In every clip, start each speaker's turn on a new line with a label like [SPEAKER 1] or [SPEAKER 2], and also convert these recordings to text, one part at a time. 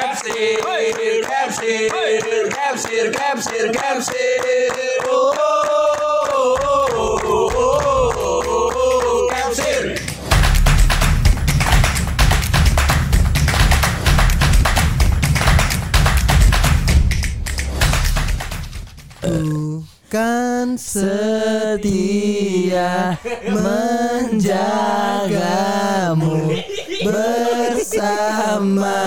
[SPEAKER 1] Capsir, capsir, capsir, capsir, capsir. Oh, oh, oh, oh, oh, oh, oh, capsir.
[SPEAKER 2] Kan setia menjagamu bersama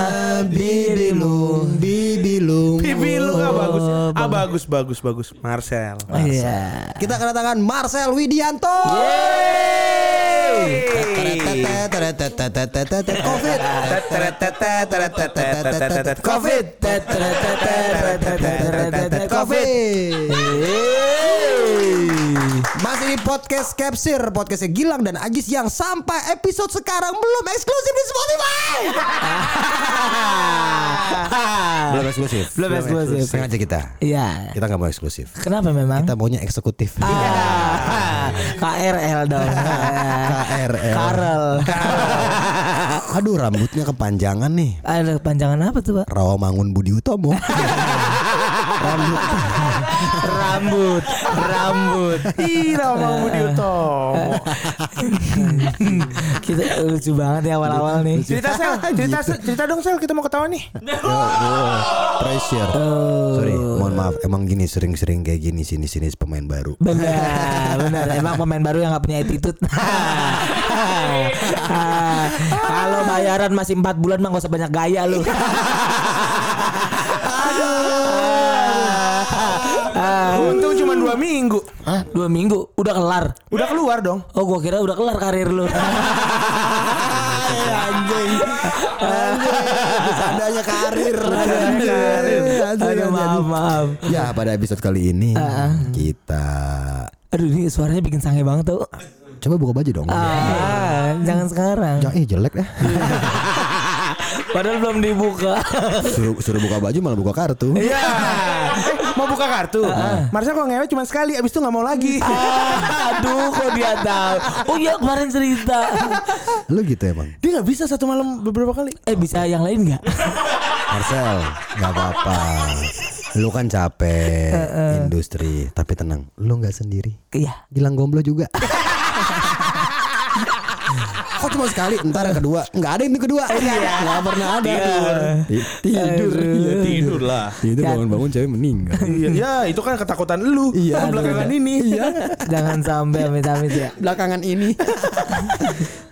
[SPEAKER 2] bibilung bibilung
[SPEAKER 3] Pipi lu gak bagus. Ah bagus bagus bagus Marcel.
[SPEAKER 2] Iya. Kita kedatangan Marcel Widianto. Covid. Covid. Covid. Masih di podcast Capsir, podcastnya Gilang dan Agis yang sampai episode sekarang belum eksklusif di Spotify.
[SPEAKER 4] Belum eksklusif.
[SPEAKER 2] Belum eksklusif.
[SPEAKER 4] Sengaja kita.
[SPEAKER 2] Iya.
[SPEAKER 4] Kita nggak mau eksklusif.
[SPEAKER 2] Kenapa memang?
[SPEAKER 4] Kita maunya eksekutif.
[SPEAKER 2] Iya. KRL dong.
[SPEAKER 4] KRL.
[SPEAKER 2] Karel.
[SPEAKER 4] Aduh rambutnya kepanjangan nih.
[SPEAKER 2] Ada panjangan apa tuh, Pak?
[SPEAKER 4] Rawamangun Budi Utomo. Rambut.
[SPEAKER 2] rambut, rambut.
[SPEAKER 3] Ih, mau di Utomo.
[SPEAKER 2] Kita lucu banget ya awal-awal nih.
[SPEAKER 3] Cerita sel, cerita Sel. cerita dong sel kita mau ketawa nih.
[SPEAKER 4] Pressure.
[SPEAKER 2] Eh.
[SPEAKER 4] Sorry, mohon maaf. Emang gini sering-sering kayak gini sini-sini pemain baru.
[SPEAKER 2] Benar, benar. Emang pemain baru yang nggak punya attitude. Kalau bayaran masih 4 bulan mah gak usah banyak gaya lu. Aduh.
[SPEAKER 3] Untung cuma dua minggu.
[SPEAKER 2] Ah, Dua minggu udah kelar.
[SPEAKER 3] Udah keluar dong.
[SPEAKER 2] Oh gua kira udah kelar karir lu.
[SPEAKER 4] Anjing. Anjing. Adanya karir.
[SPEAKER 2] Aduh maaf Ah, maaf.
[SPEAKER 4] Ya pada episode kali ini kita
[SPEAKER 2] Aduh ini suaranya bikin sange banget tuh.
[SPEAKER 4] coba buka baju dong.
[SPEAKER 2] Ah, jangan sekarang.
[SPEAKER 4] Jangan eh jelek dah.
[SPEAKER 2] Padahal belum dibuka.
[SPEAKER 4] suruh suruh buka baju malah buka kartu.
[SPEAKER 3] Iya. Eh, mau buka kartu. Marcel kalau ngewe cuma sekali abis itu nggak mau lagi.
[SPEAKER 2] Aduh, kok dia tahu? Oh iya kemarin cerita.
[SPEAKER 4] Lu gitu emang.
[SPEAKER 3] Dia nggak bisa satu malam beberapa kali.
[SPEAKER 2] Eh bisa yang lain nggak?
[SPEAKER 4] Marcel, nggak apa-apa. Lu kan capek industri, tapi tenang, lu nggak sendiri.
[SPEAKER 2] Iya.
[SPEAKER 4] Gilang gomblo juga. Kok cuma sekali, ntar yang kedua nggak ada yang kedua. Nggak pernah ada. Ti- Tidur, Iya, tidur lah. Tidur bangun-bangun cewek meninggal.
[SPEAKER 3] Iya, ya, itu kan ketakutan lu. Iya, belakangan ini. Iya.
[SPEAKER 2] Jangan sampai amit-amit ya.
[SPEAKER 4] Belakangan ini.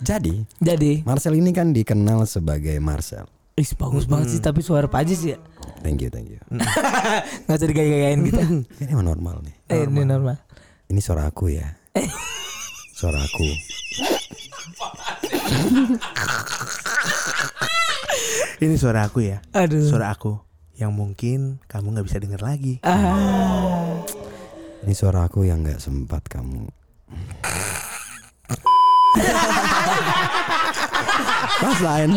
[SPEAKER 4] Jadi,
[SPEAKER 2] Jadi,
[SPEAKER 4] Marcel ini kan dikenal sebagai Marcel.
[SPEAKER 2] ih bagus banget sih tapi suara Pajis ya.
[SPEAKER 4] Thank you, thank you.
[SPEAKER 2] Hmm. Nggak usah digaya-gayain kita.
[SPEAKER 4] Ini emang normal nih.
[SPEAKER 2] Eh, ini Hmm. normal.
[SPEAKER 4] Ini suara aku ya. Suara aku.
[SPEAKER 3] Ini suara aku ya.
[SPEAKER 2] Aduh.
[SPEAKER 3] Suara aku yang mungkin kamu nggak bisa denger lagi.
[SPEAKER 4] Ini suara aku yang nggak sempat kamu. Mas lain.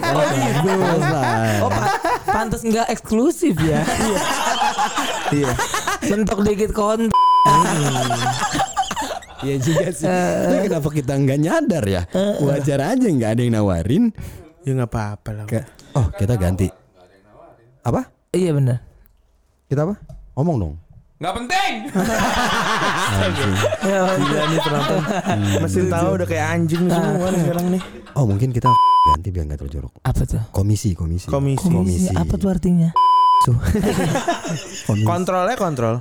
[SPEAKER 4] Oh gitu. Mas lain.
[SPEAKER 2] Oh, pa- pantas nggak eksklusif ya.
[SPEAKER 3] Iya.
[SPEAKER 2] Mentok dikit kon.
[SPEAKER 4] Iya juga sih. Tapi kenapa kita nggak nyadar ya? Wajar aja nggak ada yang nawarin.
[SPEAKER 3] Ya nggak apa-apa lah.
[SPEAKER 4] Kayak, oh kita ganti. Apa?
[SPEAKER 2] Iya benar.
[SPEAKER 4] Kita apa? Ngomong dong.
[SPEAKER 1] Nggak penting.
[SPEAKER 2] Iya,
[SPEAKER 3] Gila nih penonton. Mesin tahu udah kayak anjing nih semua nih sekarang nih.
[SPEAKER 4] Oh mungkin kita ganti biar nggak terjorok.
[SPEAKER 2] Apa tuh?
[SPEAKER 4] Komisi, komisi.
[SPEAKER 3] Komisi.
[SPEAKER 4] komisi.
[SPEAKER 2] Apa tuh artinya?
[SPEAKER 4] Komisi.
[SPEAKER 3] Kontrolnya kontrol.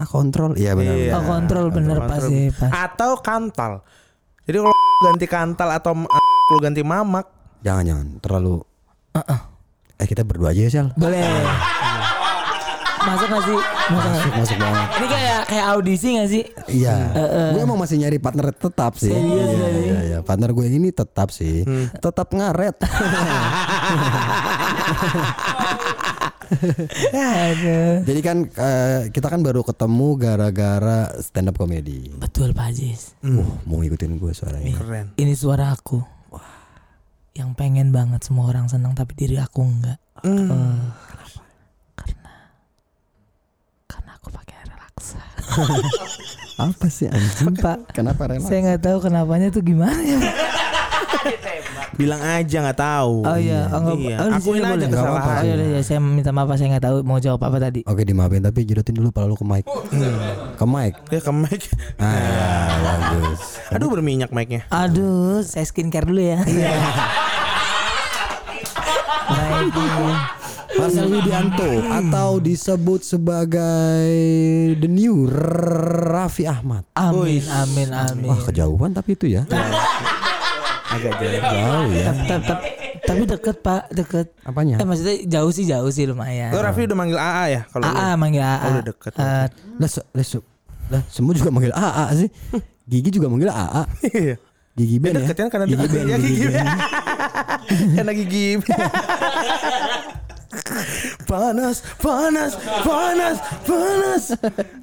[SPEAKER 4] Ah, kontrol. Iya benar.
[SPEAKER 3] Iya.
[SPEAKER 2] Oh, kontrol bener pas
[SPEAKER 3] Kontrol.
[SPEAKER 2] sih pas.
[SPEAKER 3] Atau kantal. Jadi kalau ganti kantal atau m- lu ganti mamak.
[SPEAKER 4] Jangan jangan terlalu. Eh kita berdua aja ya Sel.
[SPEAKER 2] Boleh. Masuk nggak sih? Masuk nggak?
[SPEAKER 4] Masuk, masuk banget.
[SPEAKER 2] Ini kayak kayak audisi nggak sih?
[SPEAKER 4] Iya. Gue emang masih nyari partner tetap sih. iya,
[SPEAKER 2] Serius, serius. Hmm.
[SPEAKER 4] iya, iya. Partner gue ini tetap sih. Tetap ngaret.
[SPEAKER 2] Aduh.
[SPEAKER 4] Jadi kan eh, kita kan baru ketemu gara-gara stand up comedy.
[SPEAKER 2] Betul Pak Aziz.
[SPEAKER 4] Wah, mau ngikutin gue suaranya.
[SPEAKER 3] Keren.
[SPEAKER 2] Ini suara aku. Yang pengen banget semua orang senang tapi diri aku enggak. Eh, Karena karena aku pakai relaksa.
[SPEAKER 4] Apa sih anjing?
[SPEAKER 2] Pak,
[SPEAKER 4] Kenapa Rena?
[SPEAKER 2] saya nggak tahu kenapanya tuh gimana ya. Pak.
[SPEAKER 3] Bilang aja nggak tahu.
[SPEAKER 2] Oh iya, oh, enggak,
[SPEAKER 3] Iya.
[SPEAKER 2] oh, di
[SPEAKER 3] Akuin
[SPEAKER 2] sini
[SPEAKER 3] aja
[SPEAKER 2] boleh.
[SPEAKER 4] Nggak apa-apa.
[SPEAKER 3] kesalahan.
[SPEAKER 2] Oh iya, iya, saya minta maaf saya nggak tahu mau jawab apa tadi.
[SPEAKER 4] Oke dimaafin tapi jedotin dulu pala lu ke mic.
[SPEAKER 2] Hmm.
[SPEAKER 4] ke mic.
[SPEAKER 3] Ya ke mic.
[SPEAKER 4] Nah, ya, bagus.
[SPEAKER 3] Aduh berminyak mic-nya.
[SPEAKER 2] Aduh, saya skincare dulu ya. Iya. Baik.
[SPEAKER 4] Marcel Widianto atau disebut sebagai the new Raffi Ahmad.
[SPEAKER 2] Amin, amin, amin.
[SPEAKER 4] Wah kejauhan tapi itu ya.
[SPEAKER 3] Agak jauh.
[SPEAKER 4] Jauh ya.
[SPEAKER 2] Tap, tap, tapi deket pak, deket.
[SPEAKER 4] Apanya?
[SPEAKER 2] Eh maksudnya jauh sih, jauh sih lumayan.
[SPEAKER 3] Lo Raffi udah manggil AA ya kalau lu?
[SPEAKER 2] AA manggil AA.
[SPEAKER 3] Oh, udah deket.
[SPEAKER 2] Eh,
[SPEAKER 4] Lah, se- lah, se- lah, semua juga manggil AA sih. Gigi juga manggil AA.
[SPEAKER 3] Iya.
[SPEAKER 4] Gigi
[SPEAKER 3] Dia
[SPEAKER 4] Ben ya.
[SPEAKER 3] deket kan karena
[SPEAKER 4] gigi
[SPEAKER 3] dia
[SPEAKER 4] Ben.
[SPEAKER 3] ya,
[SPEAKER 4] Gigi
[SPEAKER 3] gigi
[SPEAKER 4] Ben.
[SPEAKER 3] ben. karena gigi panas, panas, panas, panas.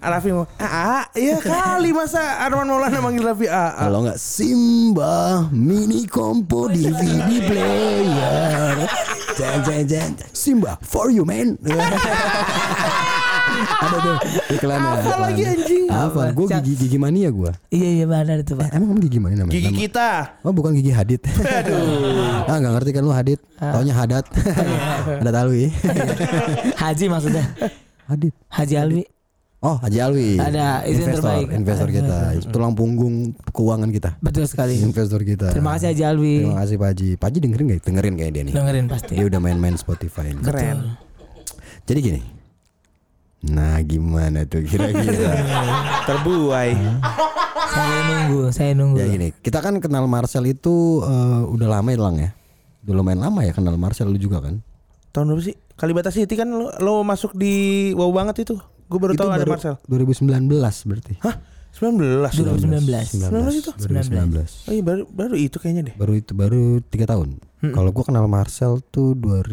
[SPEAKER 3] Ah, Raffi mau AA, ya kali masa Arman Maulana manggil Raffi AA.
[SPEAKER 4] Kalau nggak Simba mini kompo DVD player. Jen jen jen. Simba for you man. Ada tuh iklannya.
[SPEAKER 3] Apa lagi,
[SPEAKER 4] iklannya.
[SPEAKER 3] anjing?
[SPEAKER 4] Apa? Gue gigi gigi mania gue.
[SPEAKER 2] iya iya benar itu pak.
[SPEAKER 4] Emang kamu gigi mania namanya?
[SPEAKER 3] Gigi
[SPEAKER 4] Nama-
[SPEAKER 3] kita.
[SPEAKER 4] Oh bukan gigi Hadid. Aduh. ah nggak ngerti kan lu Hadid. Taunya Hadat. Hadat Alwi.
[SPEAKER 2] Haji maksudnya.
[SPEAKER 4] Hadid.
[SPEAKER 2] Haji Alwi.
[SPEAKER 4] Oh Haji Alwi.
[SPEAKER 2] Ada, itu yang
[SPEAKER 4] investor,
[SPEAKER 2] terbaik.
[SPEAKER 4] investor kita, tulang punggung keuangan kita,
[SPEAKER 2] Betul sekali.
[SPEAKER 4] investor kita.
[SPEAKER 2] Terima kasih Haji Alwi.
[SPEAKER 4] Terima kasih Pak Haji. Pak Haji dengerin gak? Dengerin kayak dia nih.
[SPEAKER 2] Dengerin pasti.
[SPEAKER 4] Dia udah main-main Spotify. nih.
[SPEAKER 3] Keren.
[SPEAKER 4] Jadi gini. Nah gimana tuh kira-kira?
[SPEAKER 3] Terbuai.
[SPEAKER 2] Saya nunggu, saya nunggu.
[SPEAKER 4] ya gini. Kita kan kenal Marcel itu eh, udah lama ya Lang ya. Udah lumayan lama ya kenal Marcel lu juga kan?
[SPEAKER 3] Tahun berapa sih? Kalibata City kan lo, lo masuk di wow banget itu. Gue baru
[SPEAKER 4] itu
[SPEAKER 3] tahu ada
[SPEAKER 4] baru
[SPEAKER 3] Marcel.
[SPEAKER 4] 2019 berarti.
[SPEAKER 3] Hah? 19.
[SPEAKER 2] 2019.
[SPEAKER 4] 19
[SPEAKER 3] itu?
[SPEAKER 4] 2019.
[SPEAKER 3] Oh iya baru baru itu kayaknya deh.
[SPEAKER 4] Baru itu baru tiga tahun. Kalau gua kenal Marcel tuh 2015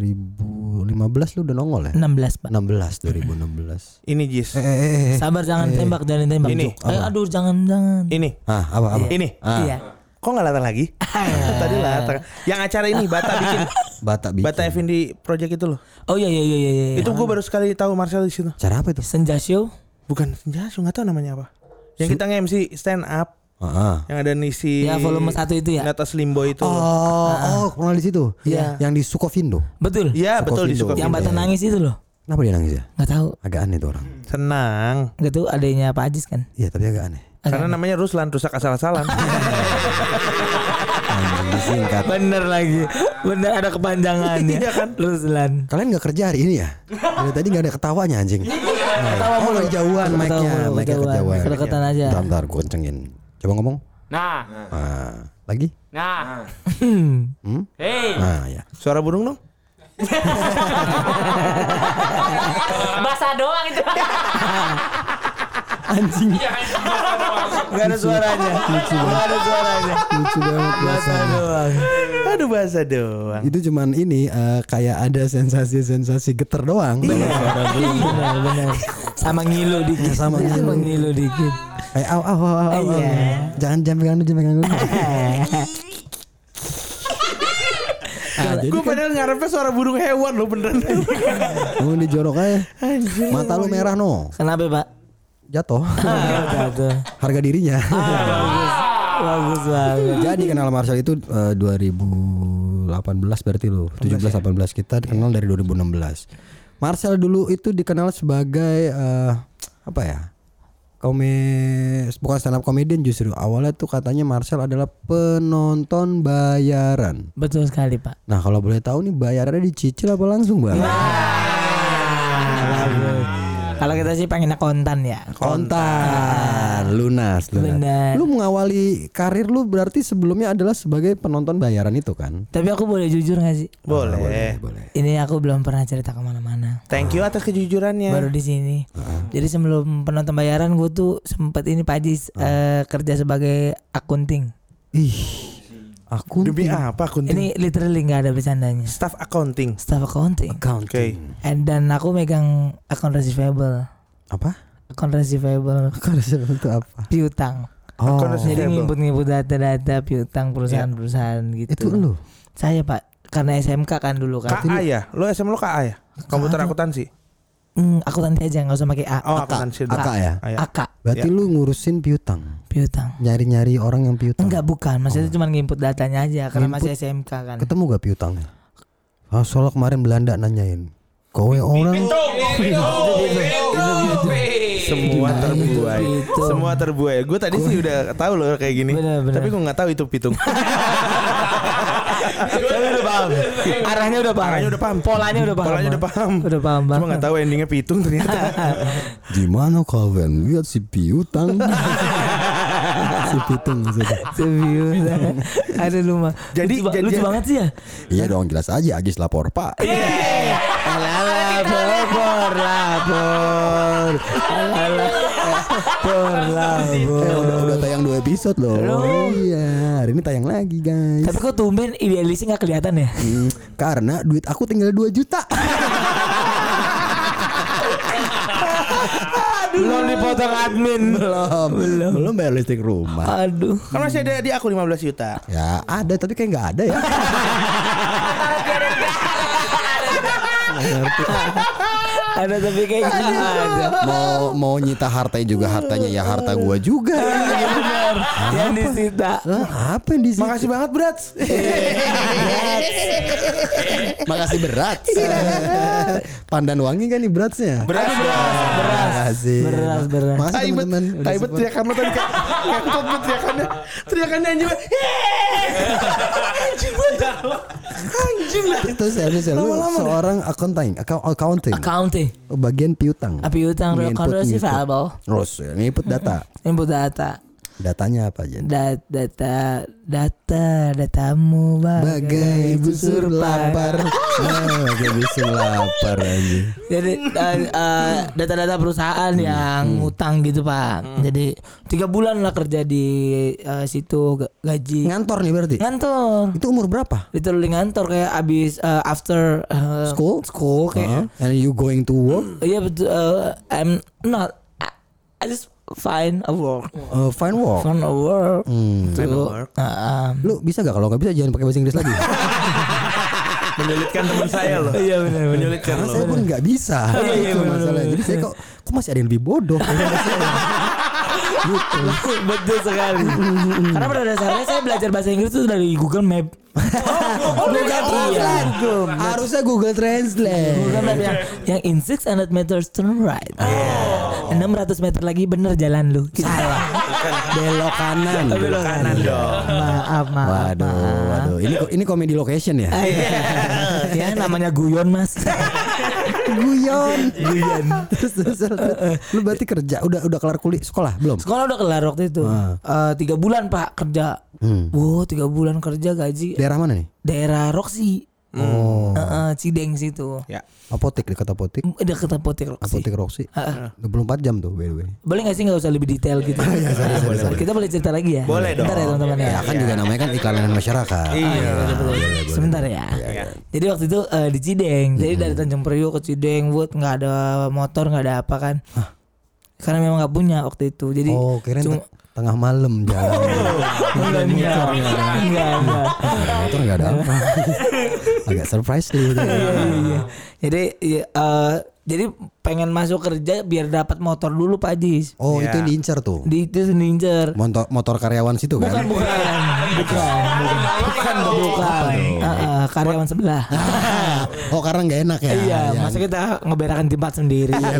[SPEAKER 4] lu udah nongol ya?
[SPEAKER 2] 16 pak.
[SPEAKER 4] 16 2016.
[SPEAKER 3] Ini Jis.
[SPEAKER 4] Eh, eh, eh, eh.
[SPEAKER 2] Sabar jangan tembak, jangan tembak.
[SPEAKER 3] Ini,
[SPEAKER 2] Jok. Eh, aduh jangan jangan.
[SPEAKER 3] Ini. Ah.
[SPEAKER 4] Ah, apa apa?
[SPEAKER 3] Ini.
[SPEAKER 2] Iya.
[SPEAKER 3] Kok nggak latar lagi? Tadi latar. Yang acara ini Bata bikin.
[SPEAKER 4] Bata bikin.
[SPEAKER 3] Bata Effendi project itu loh.
[SPEAKER 2] Oh iya iya iya iya. iya.
[SPEAKER 3] Itu gue baru sekali tahu Marcel di situ.
[SPEAKER 4] Cara apa itu?
[SPEAKER 2] Senja Show.
[SPEAKER 3] Bukan senja, nggak tahu namanya apa. Yang kita nge-MC stand up
[SPEAKER 4] Ah, ah.
[SPEAKER 3] yang ada nisi
[SPEAKER 2] Ya, volume satu itu ya?
[SPEAKER 3] Natas Limbo itu.
[SPEAKER 4] Oh, oh, kenal di situ. Iya. Yang di Sukovindo.
[SPEAKER 2] Betul.
[SPEAKER 3] Iya,
[SPEAKER 4] Sukovindo.
[SPEAKER 3] betul di
[SPEAKER 2] Yang
[SPEAKER 3] Sukabumi.
[SPEAKER 2] bata nangis itu loh.
[SPEAKER 4] Kenapa dia nangis ya?
[SPEAKER 2] Nggak tahu.
[SPEAKER 4] Agak aneh tuh
[SPEAKER 3] Hmm.
[SPEAKER 4] orang.
[SPEAKER 3] Senang.
[SPEAKER 2] Nggak tahu adanya Pak Ajis kan.
[SPEAKER 4] Iya, tapi agak aneh.
[SPEAKER 3] Karena namanya Ruslan rusak asal-asalan.
[SPEAKER 4] Anjing, Disingkat.
[SPEAKER 2] Bener lagi. Bener ada kepanjangannya.
[SPEAKER 3] Iya kan?
[SPEAKER 2] Ruslan.
[SPEAKER 4] Kalian gak kerja hari ini ya? Dari tadi gak ada ketawanya anjing. Ketawa oh, kejauhan mic-nya,
[SPEAKER 2] Ketawa mulu,
[SPEAKER 4] mic-nya
[SPEAKER 2] kejauhan.
[SPEAKER 4] kejauhan.
[SPEAKER 2] Kedekatan aja.
[SPEAKER 4] Bentar, bentar, gue kencengin. Coba ngomong.
[SPEAKER 5] Nah,
[SPEAKER 4] Ah, lagi?
[SPEAKER 5] nah,
[SPEAKER 3] Hmm?
[SPEAKER 5] hei,
[SPEAKER 4] Nah, ya.
[SPEAKER 3] Suara burung dong.
[SPEAKER 5] bahasa doang itu.
[SPEAKER 4] Anjing.
[SPEAKER 2] Gak ada suaranya. Gak ada suaranya.
[SPEAKER 4] Lucu banget biasanya.
[SPEAKER 2] Doang.
[SPEAKER 3] Aduh bahasa doang.
[SPEAKER 4] Itu cuman ini eh, kayak ada sensasi-sensasi geter doang.
[SPEAKER 2] Iya. Bener bener. Sama ngilu dikit.
[SPEAKER 3] Iya,
[SPEAKER 4] sama ngilu.
[SPEAKER 2] ngilu dikit.
[SPEAKER 4] Kayak aw aw aw aw. aw.
[SPEAKER 2] Iya.
[SPEAKER 4] Jangan jangan pegang dulu, jangan pegang dulu. Ah, jadi
[SPEAKER 3] Gue padahal ngarepnya suara burung hewan loh beneran.
[SPEAKER 4] kamu dijorok aja. Mata lu merah no.
[SPEAKER 2] Kenapa pak?
[SPEAKER 4] Jatuh.
[SPEAKER 2] Ah, tuh.
[SPEAKER 4] Harga dirinya.
[SPEAKER 2] Bagus banget.
[SPEAKER 4] Jadi kenal Marcel itu eh, 2018 berarti lo 17 18 kita kenal dari 2016. Marcel dulu itu dikenal sebagai eh, apa ya? Kome bukan stand up comedian justru awalnya tuh katanya Marcel adalah penonton bayaran.
[SPEAKER 2] Betul sekali pak.
[SPEAKER 4] Nah kalau boleh tahu nih bayarannya dicicil apa langsung bang?
[SPEAKER 2] Kalau kita sih pengen kontan ya.
[SPEAKER 4] Kontan, lunas, lunas.
[SPEAKER 2] Benar.
[SPEAKER 4] Lu mengawali karir lu berarti sebelumnya adalah sebagai penonton bayaran itu kan?
[SPEAKER 2] Tapi aku boleh jujur gak sih?
[SPEAKER 3] Eh, Boleh.
[SPEAKER 4] Boleh.
[SPEAKER 2] Ini aku belum pernah cerita kemana-mana.
[SPEAKER 3] Thank you atas
[SPEAKER 4] Iya.
[SPEAKER 3] kejujurannya.
[SPEAKER 2] Baru di sini. Jadi sebelum penonton bayaran gue tuh sempet ini Pak Jis
[SPEAKER 4] Ah.
[SPEAKER 2] eh, kerja sebagai akunting.
[SPEAKER 4] Ih, aku
[SPEAKER 3] Demi apa kunting?
[SPEAKER 4] Iya.
[SPEAKER 2] Ini literally nggak ada bercandanya.
[SPEAKER 3] Staff accounting.
[SPEAKER 2] Staff accounting.
[SPEAKER 4] account.
[SPEAKER 3] Oke.
[SPEAKER 2] And dan aku megang account receivable.
[SPEAKER 4] Apa?
[SPEAKER 2] Account receivable
[SPEAKER 4] Account receivable itu apa?
[SPEAKER 2] piutang.
[SPEAKER 4] Oh,
[SPEAKER 2] Jadi ngimput-ngimput data-data piutang perusahaan-perusahaan gitu.
[SPEAKER 4] Iya. itu lu.
[SPEAKER 2] Saya Pak, karena SMK kan dulu kan.
[SPEAKER 3] KA ya? Lo SM lo KA ya? Komputer akuntansi.
[SPEAKER 2] Hmm, akuntansi aja nggak usah pakai A.
[SPEAKER 3] Oh,
[SPEAKER 2] Aka.
[SPEAKER 3] akuntansi dulu.
[SPEAKER 4] Aka ya?
[SPEAKER 3] Ayo.
[SPEAKER 2] Aka.
[SPEAKER 4] Berarti lu ngurusin piutang,
[SPEAKER 2] Piutang.
[SPEAKER 4] nyari-nyari orang yang piutang.
[SPEAKER 2] Enggak bukan,
[SPEAKER 3] Oh.
[SPEAKER 2] maksudnya cuma nginput datanya aja karena masih SMK kan.
[SPEAKER 4] Ketemu gak piutangnya? Ah, soalnya kemarin Belanda nanyain. Kowe orang
[SPEAKER 3] semua terbuai
[SPEAKER 2] pitung.
[SPEAKER 3] semua terbuai gue tadi sih udah tahu loh kayak gini
[SPEAKER 2] Bener, bener.
[SPEAKER 3] tapi gue nggak tahu itu pitung
[SPEAKER 4] Tapi udah paham.
[SPEAKER 2] Arahnya udah paham.
[SPEAKER 3] Arahnya udah paham.
[SPEAKER 2] Polanya udah paham.
[SPEAKER 3] Polanya udah paham.
[SPEAKER 2] Udah paham
[SPEAKER 3] cuma
[SPEAKER 2] banget.
[SPEAKER 3] nggak tahu endingnya pitung ternyata
[SPEAKER 4] Gimana kalian lihat si piutang? si piutang maksudnya.
[SPEAKER 2] Ada lu mah.
[SPEAKER 3] Jadi-
[SPEAKER 2] Lucu ba-
[SPEAKER 3] jadi-
[SPEAKER 2] lucu banget sih ya.
[SPEAKER 4] Iya dong jelas aja Agis lapor pak
[SPEAKER 2] Alah, lapor, lapor.
[SPEAKER 4] Eh, udah, udah tayang dua episode loh Iya hari ini tayang lagi
[SPEAKER 3] Iya.
[SPEAKER 4] guys
[SPEAKER 2] Tapi kok tumben idealisnya nggak kelihatan ya?
[SPEAKER 4] Hmm, Karena duit aku tinggal 2 juta
[SPEAKER 2] Belum dipotong admin.
[SPEAKER 4] Belum Belum bayar listrik rumah
[SPEAKER 2] Aduh.
[SPEAKER 3] kan masih ada di aku 15 juta
[SPEAKER 4] Ya ada tapi kayak nggak ada ya Nggak ngerti.
[SPEAKER 2] Ada tapi kayak gitu ada.
[SPEAKER 4] Mau mau nyita hartanya juga hartanya ya harta gua juga
[SPEAKER 2] Benar. Yang disita.
[SPEAKER 4] Lah apa yang di sini?
[SPEAKER 3] makasih banget berat
[SPEAKER 2] Iya.
[SPEAKER 4] Makasih berat. Pandan wangi kan nih beratnya.
[SPEAKER 3] berat berat
[SPEAKER 4] Makasih.
[SPEAKER 2] Beras, beras.
[SPEAKER 4] Makasih
[SPEAKER 3] Taibet,
[SPEAKER 4] teman-teman. Udah
[SPEAKER 3] Taibet
[SPEAKER 4] support.
[SPEAKER 3] teriakan lo tadi kayak kentut lo teriakannya Teriakannya anjing banget. Anjing banget. Anjing lah
[SPEAKER 4] Terus harus lu seorang accounting, account- accounting,
[SPEAKER 2] Accounting.
[SPEAKER 4] bagian piutang.
[SPEAKER 2] Ah, piutang,
[SPEAKER 4] Nginput,
[SPEAKER 2] accounts
[SPEAKER 4] nginput.
[SPEAKER 2] receivable.
[SPEAKER 4] Terus ya, ngikut data.
[SPEAKER 2] Input data.
[SPEAKER 4] Datanya apa aja?
[SPEAKER 2] Da- data data datamu
[SPEAKER 4] Bagai
[SPEAKER 2] bagai
[SPEAKER 4] busur lapar. Ah, Bagai busur lapar aja.
[SPEAKER 2] Jadi eh, eh, data-data perusahaan
[SPEAKER 4] Hmm.
[SPEAKER 2] yang utang gitu pak. Jadi tiga bulan lah kerja di eh, situ ga- gaji
[SPEAKER 4] Ngantor nih berarti.
[SPEAKER 2] ngantor.
[SPEAKER 4] Itu umur berapa?
[SPEAKER 2] Literally ngantor kayak abis eh, after eh,
[SPEAKER 4] School?
[SPEAKER 2] school
[SPEAKER 4] Huh?
[SPEAKER 2] kayak.
[SPEAKER 4] And you going to work?
[SPEAKER 2] Iya betul. eh, I'm not. I, I just find a work.
[SPEAKER 4] Uh, find work.
[SPEAKER 2] Find a work.
[SPEAKER 4] Hmm.
[SPEAKER 2] Tuh, eh, eh,
[SPEAKER 4] Lu bisa gak kalau nggak bisa jangan pakai bahasa Inggris lagi.
[SPEAKER 3] Menyulitkan teman saya loh Iya benar Menyulitkan
[SPEAKER 4] Karena
[SPEAKER 3] lo
[SPEAKER 4] saya pun nggak bisa.
[SPEAKER 2] iya, Oh, iya,
[SPEAKER 4] itu
[SPEAKER 2] bener,
[SPEAKER 4] masalahnya.
[SPEAKER 2] bener.
[SPEAKER 4] Jadi saya kok kok masih ada yang lebih bodoh. gitu.
[SPEAKER 2] Betul sekali. Karena pada dasarnya saya belajar bahasa Inggris itu dari Google Map.
[SPEAKER 4] Oh,
[SPEAKER 2] Google Translate.
[SPEAKER 4] Harusnya Google Translate.
[SPEAKER 2] Google Map yang kan yang in 600 meters turn right.
[SPEAKER 4] Iya.
[SPEAKER 2] 600 meter lagi bener jalan lu. Gitu. Salah.
[SPEAKER 4] Belok kanan. Belok kanan dong.
[SPEAKER 2] maaf, maaf.
[SPEAKER 4] Waduh, waduh. Ini ini komedi location ya.
[SPEAKER 2] ya namanya guyon mas. Eh,
[SPEAKER 4] Guyon. Guyon. Terus terus terus. lu berarti kerja udah udah kelar kuliah sekolah belum?
[SPEAKER 2] Sekolah udah kelar waktu itu.
[SPEAKER 4] Ah.
[SPEAKER 2] Eh, tiga bulan pak kerja.
[SPEAKER 4] Hmm.
[SPEAKER 2] Wow tiga bulan kerja gaji
[SPEAKER 4] Daerah mana nih?
[SPEAKER 2] daerah Roxy.
[SPEAKER 4] Oh,
[SPEAKER 2] Eh, eh, Cideng situ.
[SPEAKER 3] Ya
[SPEAKER 4] apotek dekat apotek.
[SPEAKER 2] Dekat apotek Roxy.
[SPEAKER 4] Apotek Roxy.
[SPEAKER 2] Ah.
[SPEAKER 4] 24 jam tuh by the way.
[SPEAKER 2] Boleh gak sih gak usah lebih detail gitu
[SPEAKER 4] Iya,
[SPEAKER 2] Kita boleh cerita lagi ya
[SPEAKER 3] Boleh
[SPEAKER 2] Bentar ya
[SPEAKER 3] dong.
[SPEAKER 2] teman-teman ya
[SPEAKER 4] Ya kan juga namanya kan iklanan masyarakat.
[SPEAKER 3] Iya
[SPEAKER 2] Sebentar ya Jadi waktu itu eh, di Cideng Jadi dari Tanjung Priok ke Cideng Buat gak ada motor gak ada apa kan Karena memang gak punya waktu itu Jadi
[SPEAKER 4] Oh, kirain
[SPEAKER 2] cuma- Iya,
[SPEAKER 4] te- tengah malam jalan.
[SPEAKER 2] Enggak, enggak, enggak, enggak.
[SPEAKER 4] Nah, motor nggak ada apa
[SPEAKER 2] Iya.
[SPEAKER 4] agak surprise lu gitu.
[SPEAKER 2] Jadi ya, eh, Jadi pengen masuk kerja Biar dapat motor dulu Pak Jis
[SPEAKER 4] oh itu yang diincar tuh
[SPEAKER 2] Iya. Di itu ninjer
[SPEAKER 4] motor motor karyawan situ
[SPEAKER 2] Bukan,
[SPEAKER 4] kan
[SPEAKER 2] bukan, bukan, bukan, bukan, Ah, ah, karyawan sebelah.
[SPEAKER 4] oh karena nggak enak ya
[SPEAKER 2] Iya,
[SPEAKER 4] Ya.
[SPEAKER 2] masa kita ngeberakan tempat sendiri. Iya,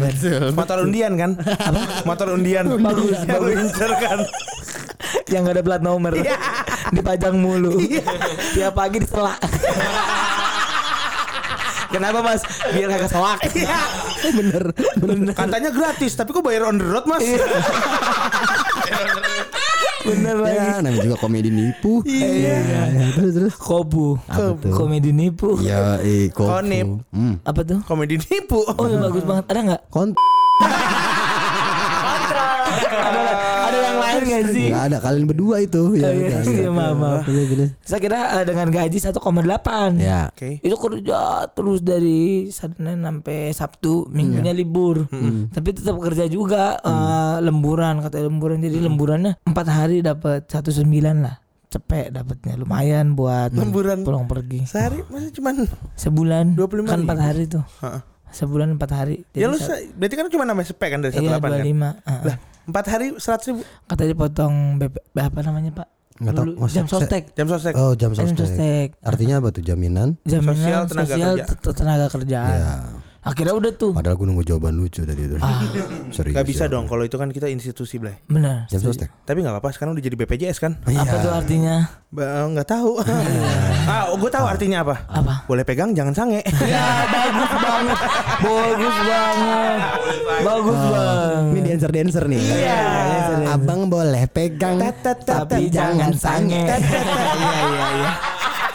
[SPEAKER 3] Motor undian kan Apa? Motor undian
[SPEAKER 2] Bagus,
[SPEAKER 3] Yang lu incer kan
[SPEAKER 2] Yang gak ada plat nomor. Dipajang mulu. Tiap pagi diselak. Kenapa mas? Biar kagak soak. bener, bener, Iya.
[SPEAKER 3] Katanya gratis Tapi kok bayar on the road mas
[SPEAKER 2] bener lagi.
[SPEAKER 4] ya namanya juga komedi nipu iya terus terus
[SPEAKER 2] Kobu,
[SPEAKER 4] tuh?
[SPEAKER 2] komedi nipu.
[SPEAKER 4] ya eh kok
[SPEAKER 3] Konip.
[SPEAKER 4] hmm.
[SPEAKER 2] Apa tuh?
[SPEAKER 3] Komedi nipu
[SPEAKER 2] Oh, iya, bagus banget. Ada nggak?
[SPEAKER 4] kont
[SPEAKER 2] Ada, ada yang lain nggak sih?
[SPEAKER 4] nggak ada kalian berdua itu ya
[SPEAKER 2] Oh, iya,
[SPEAKER 4] udah,
[SPEAKER 2] iya, maaf, maaf.
[SPEAKER 4] Bener, bener.
[SPEAKER 2] Saya kira eh, dengan gaji 1,8
[SPEAKER 4] ya
[SPEAKER 3] Oke
[SPEAKER 2] Itu kerja terus dari Senin sampai Sabtu Minggunya libur Tapi tetap kerja juga eh, Lemburan Katanya lemburan Jadi lemburannya empat hari dapat 19 lah Cepet dapatnya Lumayan buat
[SPEAKER 3] Lemburan.
[SPEAKER 2] pulang pergi
[SPEAKER 3] Sehari masa cuman
[SPEAKER 2] Sebulan
[SPEAKER 3] 25
[SPEAKER 2] Kan empat hari tuh
[SPEAKER 3] Ha-ha.
[SPEAKER 2] sebulan empat hari.
[SPEAKER 3] Ya lu
[SPEAKER 2] satu-
[SPEAKER 3] se- berarti kan cuma namanya spek kan dari satu
[SPEAKER 2] Iya
[SPEAKER 3] delapan
[SPEAKER 2] dua
[SPEAKER 3] kan.
[SPEAKER 2] lima.
[SPEAKER 3] Lah, empat hari seratus ribu
[SPEAKER 2] Katanya potong BP, apa namanya pak?
[SPEAKER 4] Nggak tahu,
[SPEAKER 2] Dulu,
[SPEAKER 4] masa-
[SPEAKER 2] jam sostek.
[SPEAKER 3] jam sostek.
[SPEAKER 4] Oh jam
[SPEAKER 2] Jam
[SPEAKER 4] sostek.
[SPEAKER 2] sostek.
[SPEAKER 4] Artinya apa tuh jaminan?
[SPEAKER 2] Jaminan
[SPEAKER 3] Sosial
[SPEAKER 2] sosial
[SPEAKER 3] tenaga
[SPEAKER 2] tenaga,
[SPEAKER 3] kerja.
[SPEAKER 2] kerjaan.
[SPEAKER 4] Iya.
[SPEAKER 2] Akhirnya udah tuh.
[SPEAKER 4] Padahal gue nunggu jawaban lucu tadi itu. Serius.
[SPEAKER 2] iya,
[SPEAKER 3] Gak bisa
[SPEAKER 4] ya.
[SPEAKER 3] dong kalau itu kan kita institusi Blay.
[SPEAKER 2] Benar.
[SPEAKER 4] Jam sostek.
[SPEAKER 3] Tapi nggak apa-apa sekarang udah jadi BPJS kan?
[SPEAKER 2] Apa tuh artinya?
[SPEAKER 3] Ba- eh, Nggak tahu. ah, Iya, gue tahu artinya apa.
[SPEAKER 2] Apa?
[SPEAKER 3] Boleh pegang jangan sange.
[SPEAKER 2] bagus banget. Bagus banget. Bagus banget.
[SPEAKER 4] Ini dancer dancer nih. Iya. Abang boleh pegang, tapi jangan sange. Iya iya iya.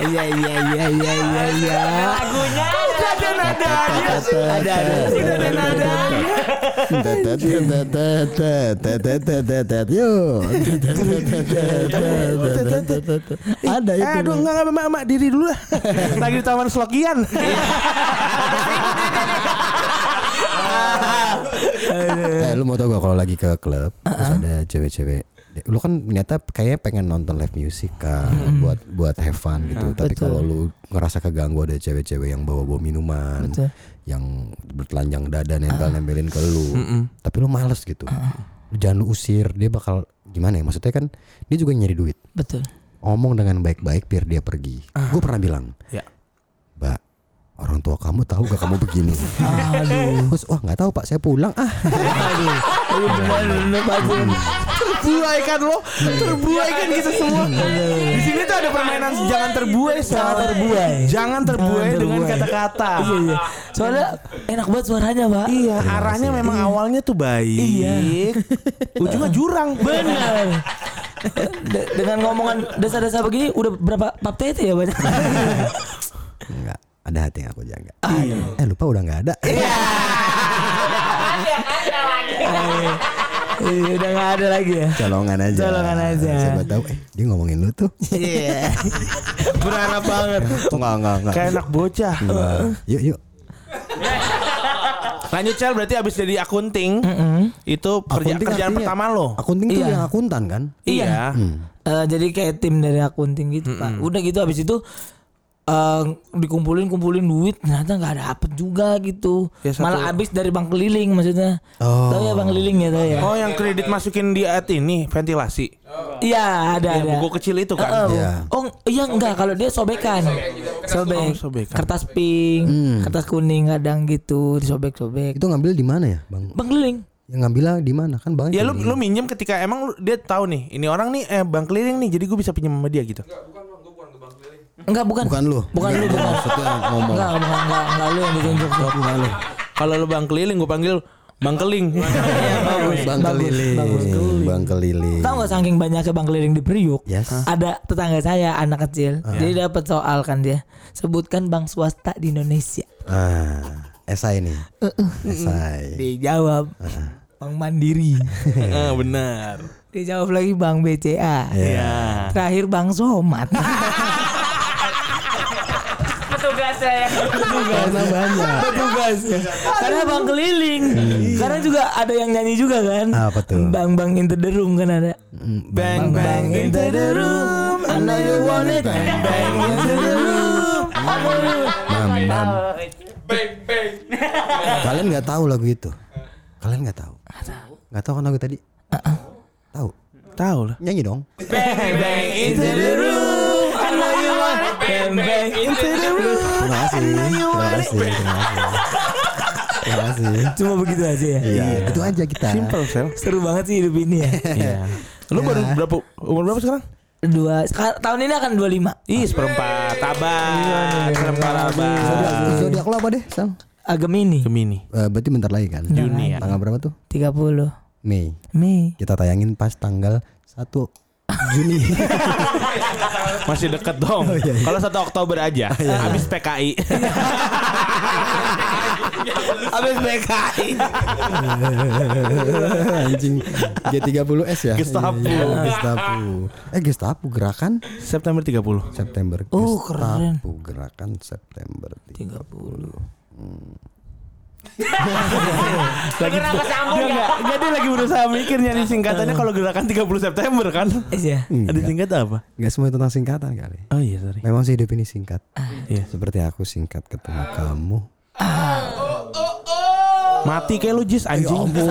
[SPEAKER 4] Iya iya iya iya iya iya.
[SPEAKER 5] Lagunya ada nada.
[SPEAKER 4] Ada ada
[SPEAKER 3] Eh, aduh enggak enggak Mbak, Mbak, diri dulu lah. Lagi di taman Slokian.
[SPEAKER 4] Eh lu mau tau gak kalau lagi ke klub Terus ada cewek-cewek Lu kan ternyata kayaknya pengen nonton live music kan Buat buat have fun gitu Tapi
[SPEAKER 2] Betul.
[SPEAKER 4] kalau lu ngerasa keganggu ada cewek-cewek yang bawa-bawa minuman
[SPEAKER 2] Betul.
[SPEAKER 4] Yang bertelanjang dada nempel-nempelin ke lu Tapi lu males gitu Lu Jangan lu usir Dia bakal gimana ya Maksudnya kan dia juga nyari duit
[SPEAKER 2] Betul.
[SPEAKER 4] Omong dengan baik-baik biar dia pergi
[SPEAKER 2] Ah.
[SPEAKER 4] Gue pernah bilang
[SPEAKER 3] Ya.
[SPEAKER 4] Mbak orang tua kamu tahu gak kamu begini Terus wah nggak tahu pak saya pulang ah
[SPEAKER 3] Iya, Terbuaikan lo, terbuaikan kita semua. Di sini tuh ada permainan Iya. jangan terbuai,
[SPEAKER 2] Jangan terbuai.
[SPEAKER 3] Jangan terbuai dengan
[SPEAKER 2] Jangan terbuai.
[SPEAKER 3] kata-kata.
[SPEAKER 2] Iya, iya. Soalnya enak banget suaranya, Pak.
[SPEAKER 3] Iya, arahnya memang awalnya tuh baik. Ujungnya jurang.
[SPEAKER 2] Benar. De- dengan ngomongan desa-desa begini udah berapa pap tete ya banyak.
[SPEAKER 4] Enggak, ada hati yang aku jaga. Eh lupa udah nggak ada.
[SPEAKER 5] Ada lagi.
[SPEAKER 2] Iya, udah nggak ada lagi ya.
[SPEAKER 4] Colongan aja.
[SPEAKER 2] Colongan aja.
[SPEAKER 4] Siapa tahu eh dia ngomongin lu tuh.
[SPEAKER 2] Iya. Berharap banget.
[SPEAKER 4] Enggak, enggak, enggak.
[SPEAKER 3] Kayak anak bocah.
[SPEAKER 4] Enggak. Yuk, yuk.
[SPEAKER 3] Lanjut Cel berarti abis jadi akunting itu kerja,
[SPEAKER 4] Akunting
[SPEAKER 3] kerjaan
[SPEAKER 4] artinya-
[SPEAKER 3] pertama lo.
[SPEAKER 4] Akunting tuh
[SPEAKER 2] Iya.
[SPEAKER 4] yang akuntan kan?
[SPEAKER 3] Iya.
[SPEAKER 2] Eh, jadi kayak tim dari akunting gitu pak. Udah gitu habis itu eh dikumpulin kumpulin duit ternyata nggak dapet juga gitu.
[SPEAKER 3] Ya, satu-
[SPEAKER 2] Malah habis dari bank keliling maksudnya.
[SPEAKER 4] Oh.
[SPEAKER 2] Tahu ya bank keliling ya tahu ya.
[SPEAKER 3] Oh yang kredit masukin di at ini ventilasi.
[SPEAKER 2] Iya
[SPEAKER 3] Yang
[SPEAKER 2] ada ada.
[SPEAKER 3] buku kecil itu
[SPEAKER 2] Eh, eh,
[SPEAKER 3] kan.
[SPEAKER 4] Iya.
[SPEAKER 2] Oh iya enggak kalau dia sobekan. Sobek. gitu.
[SPEAKER 3] Oh, sobekan.
[SPEAKER 2] Kertas pink, kertas kuning kadang gitu disobek-sobek.
[SPEAKER 4] Itu ngambil di mana ya, Bang?
[SPEAKER 2] Bank keliling.
[SPEAKER 4] Yang ngambilnya di mana kan, Bang?
[SPEAKER 3] Ya lu lu minjem ketika emang lu- dia tahu nih ini orang nih eh bang keliling nih jadi gue bisa pinjam sama dia gitu.
[SPEAKER 2] Enggak bukan.
[SPEAKER 4] bukan lu.
[SPEAKER 2] Bukan lu bukan.
[SPEAKER 4] Maksudnya ngomong.
[SPEAKER 2] Enggak bukan enggak enggak lu yang ditunjuk. Bukan lu.
[SPEAKER 3] Kalau lu bang keliling gue panggil bang keling.
[SPEAKER 4] Bang
[SPEAKER 2] Iya, Bagus,
[SPEAKER 4] keliling.
[SPEAKER 2] bagus.
[SPEAKER 4] Bang keliling.
[SPEAKER 2] Tahu nggak saking banyaknya bang keliling di Priuk?
[SPEAKER 4] Yes.
[SPEAKER 2] Ada tetangga saya anak kecil. Jadi dapat soal kan dia. Sebutkan bank swasta di Indonesia.
[SPEAKER 4] Ah, esai nih. Esai.
[SPEAKER 2] Dijawab Bank Mandiri.
[SPEAKER 3] Eh, benar.
[SPEAKER 2] Dijawab lagi Bank BCA.
[SPEAKER 3] Ya.
[SPEAKER 2] Terakhir Bank Somat.
[SPEAKER 5] Petugas saya.
[SPEAKER 4] Karena banyak.
[SPEAKER 2] Karena bank keliling. Karena juga ada yang nyanyi juga kan.
[SPEAKER 4] Iya. Apa tuh?
[SPEAKER 2] Bang-bang into the room kan ada.
[SPEAKER 3] Bang bang into the room, I know you want it. Bang bang into the room.
[SPEAKER 4] Mam, mam.
[SPEAKER 1] Bang bang.
[SPEAKER 4] Kalian nggak tahu lagu itu? Kalian nggak tahu? Nggak tahu kan lagu tadi? Tahu?
[SPEAKER 3] Tahu lah.
[SPEAKER 4] Nyanyi dong.
[SPEAKER 3] Bang bang into the room, I know you want it. Bang bang into the room.
[SPEAKER 4] Terima kasih. Terima kasih. Terima kasih. Terima kasih.
[SPEAKER 2] Cuma begitu aja ya.
[SPEAKER 4] Iya, itu aja kita.
[SPEAKER 3] Simple Ya. sel.
[SPEAKER 2] Seru banget sih hidup ini ya.
[SPEAKER 3] Iya. Lu baru berapa umur berapa sekarang?
[SPEAKER 2] Dua sekar- tahun ini akan 25.
[SPEAKER 4] Iya,
[SPEAKER 3] Ih seperempat abad, seperempat abad.
[SPEAKER 4] Zodiak lo apa deh, Sam?
[SPEAKER 2] Agemini
[SPEAKER 3] Gemini.
[SPEAKER 4] Eh, berarti bentar lagi kan?
[SPEAKER 3] Juni ya.
[SPEAKER 4] Tanggal berapa tuh?
[SPEAKER 2] 30
[SPEAKER 4] Mei.
[SPEAKER 2] Mei.
[SPEAKER 4] Kita tayangin pas tanggal 1 Juni.
[SPEAKER 3] Masih deket dong. Kalau 1 Oktober aja, habis PKI. Habis PKI.
[SPEAKER 4] Anjing. G30S ya?
[SPEAKER 3] Gestapo.
[SPEAKER 4] Iya, iya, Gestapo. Eh, Gestapo gerakan
[SPEAKER 3] September 30.
[SPEAKER 4] September.
[SPEAKER 2] Oh, keren.
[SPEAKER 4] Gestapo gerakan September 30.
[SPEAKER 3] Lagi
[SPEAKER 5] Dengar apa sambung
[SPEAKER 3] dia
[SPEAKER 5] ya?
[SPEAKER 3] enggak, enggak dia lagi berusaha mikir nyari singkatannya kalau gerakan 30 September kan.
[SPEAKER 2] Iya.
[SPEAKER 3] Ada singkat apa?
[SPEAKER 4] Enggak semua tentang singkatan kali.
[SPEAKER 3] Oh iya, sorry.
[SPEAKER 4] Memang sih hidup ini singkat.
[SPEAKER 3] Iya.
[SPEAKER 4] Seperti aku singkat ketemu kamu.
[SPEAKER 3] Mati kayak lu Jis
[SPEAKER 4] Ya
[SPEAKER 3] anjing.
[SPEAKER 4] ampun.